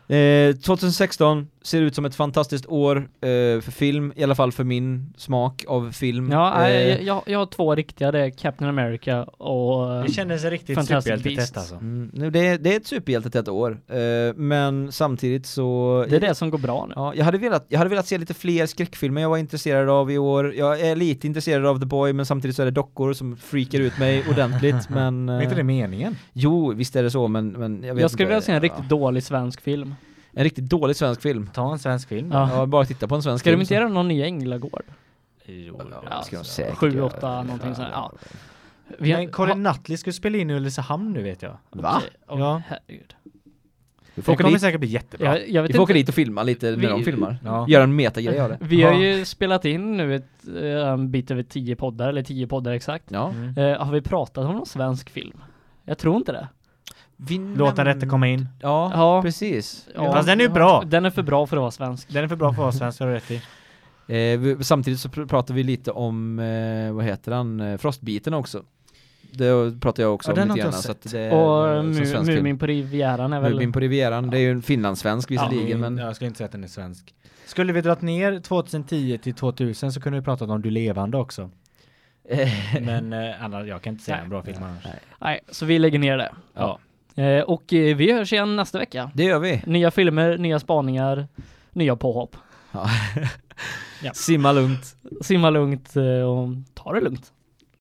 Eh, 2016 ser ut som ett fantastiskt år eh, för film, i alla fall för min smak av film. Ja, Eh, nej, jag, jag, jag har två riktiga, det är Captain America och... eh, Det kändes riktigt Fantastic superhjältetest Beasts. alltså. Mm, nu, det, är- det är ett superhjältetätt år, eh, men samtidigt så... Det är det som går bra nu. Ja, jag, hade velat, jag hade velat se lite fler skräckfilmer jag var intresserad av i år. Jag är lite intresserad av The Boy, men samtidigt så är det dockor som freakar ut mig ordentligt. men, Är eh, inte det meningen? Jo, visst är det så, men, men jag vet Jag skulle inte, vilja se en ja. riktigt dålig svensk film. En riktigt dålig svensk film. Ta en svensk film. Ja. Ja, bara titta på en svensk Ska film. de inte så- göra någon ny Änglagård? Jo, Ja, ska de så. säkert Sju, göra. åtta, någonting sånt. Ja. Vi har- Men Karin Nutley skulle spela in i Ulricehamn nu vet jag. Okej, Va? åh, Ja. herregud. Vi får Det åka kommer dit, säkert bli jättebra. Jag, jag vet vi får åka inte. dit och filma lite när Vi- de filmar. Ja. Göra en metagrej av det. Vi har Ja. ju spelat in nu ett, eh, en bit över tio poddar, eller tio poddar exakt. Ja. Mm. Eh, har vi pratat om någon svensk film? Jag tror inte det. Låt den rätte komma in. Ja, Ja. precis. Ja. Fast den är ju bra. Den är för bra för att vara svensk. Den är för bra för oss svenskar, har du rätt i. Eh, vi, samtidigt så pr- pratar vi lite om, eh, vad heter han, eh, Frostbiten också. Det pratar jag också Ja, om den lite har grann. inte jag Så att det är Och eh, som Mu- svensk film. Mumin på Rivieran är väl... Mubin på Rivieran, det är ju en finlandssvensk visserligen men mm, Jag skulle inte säga att den är svensk. Skulle vi dragit ner 2010 till 2000 så kunde vi pratat om Du levande också. Men eh, annars, jag kan inte säga Nej. en bra film annars. Nej, så vi lägger ner det. Ja. Eh, och eh, vi hörs igen nästa vecka. det gör vi. Nya filmer, nya spaningar, nya påhopp. Simma lugnt. Simma lugnt eh, och ta det lugnt.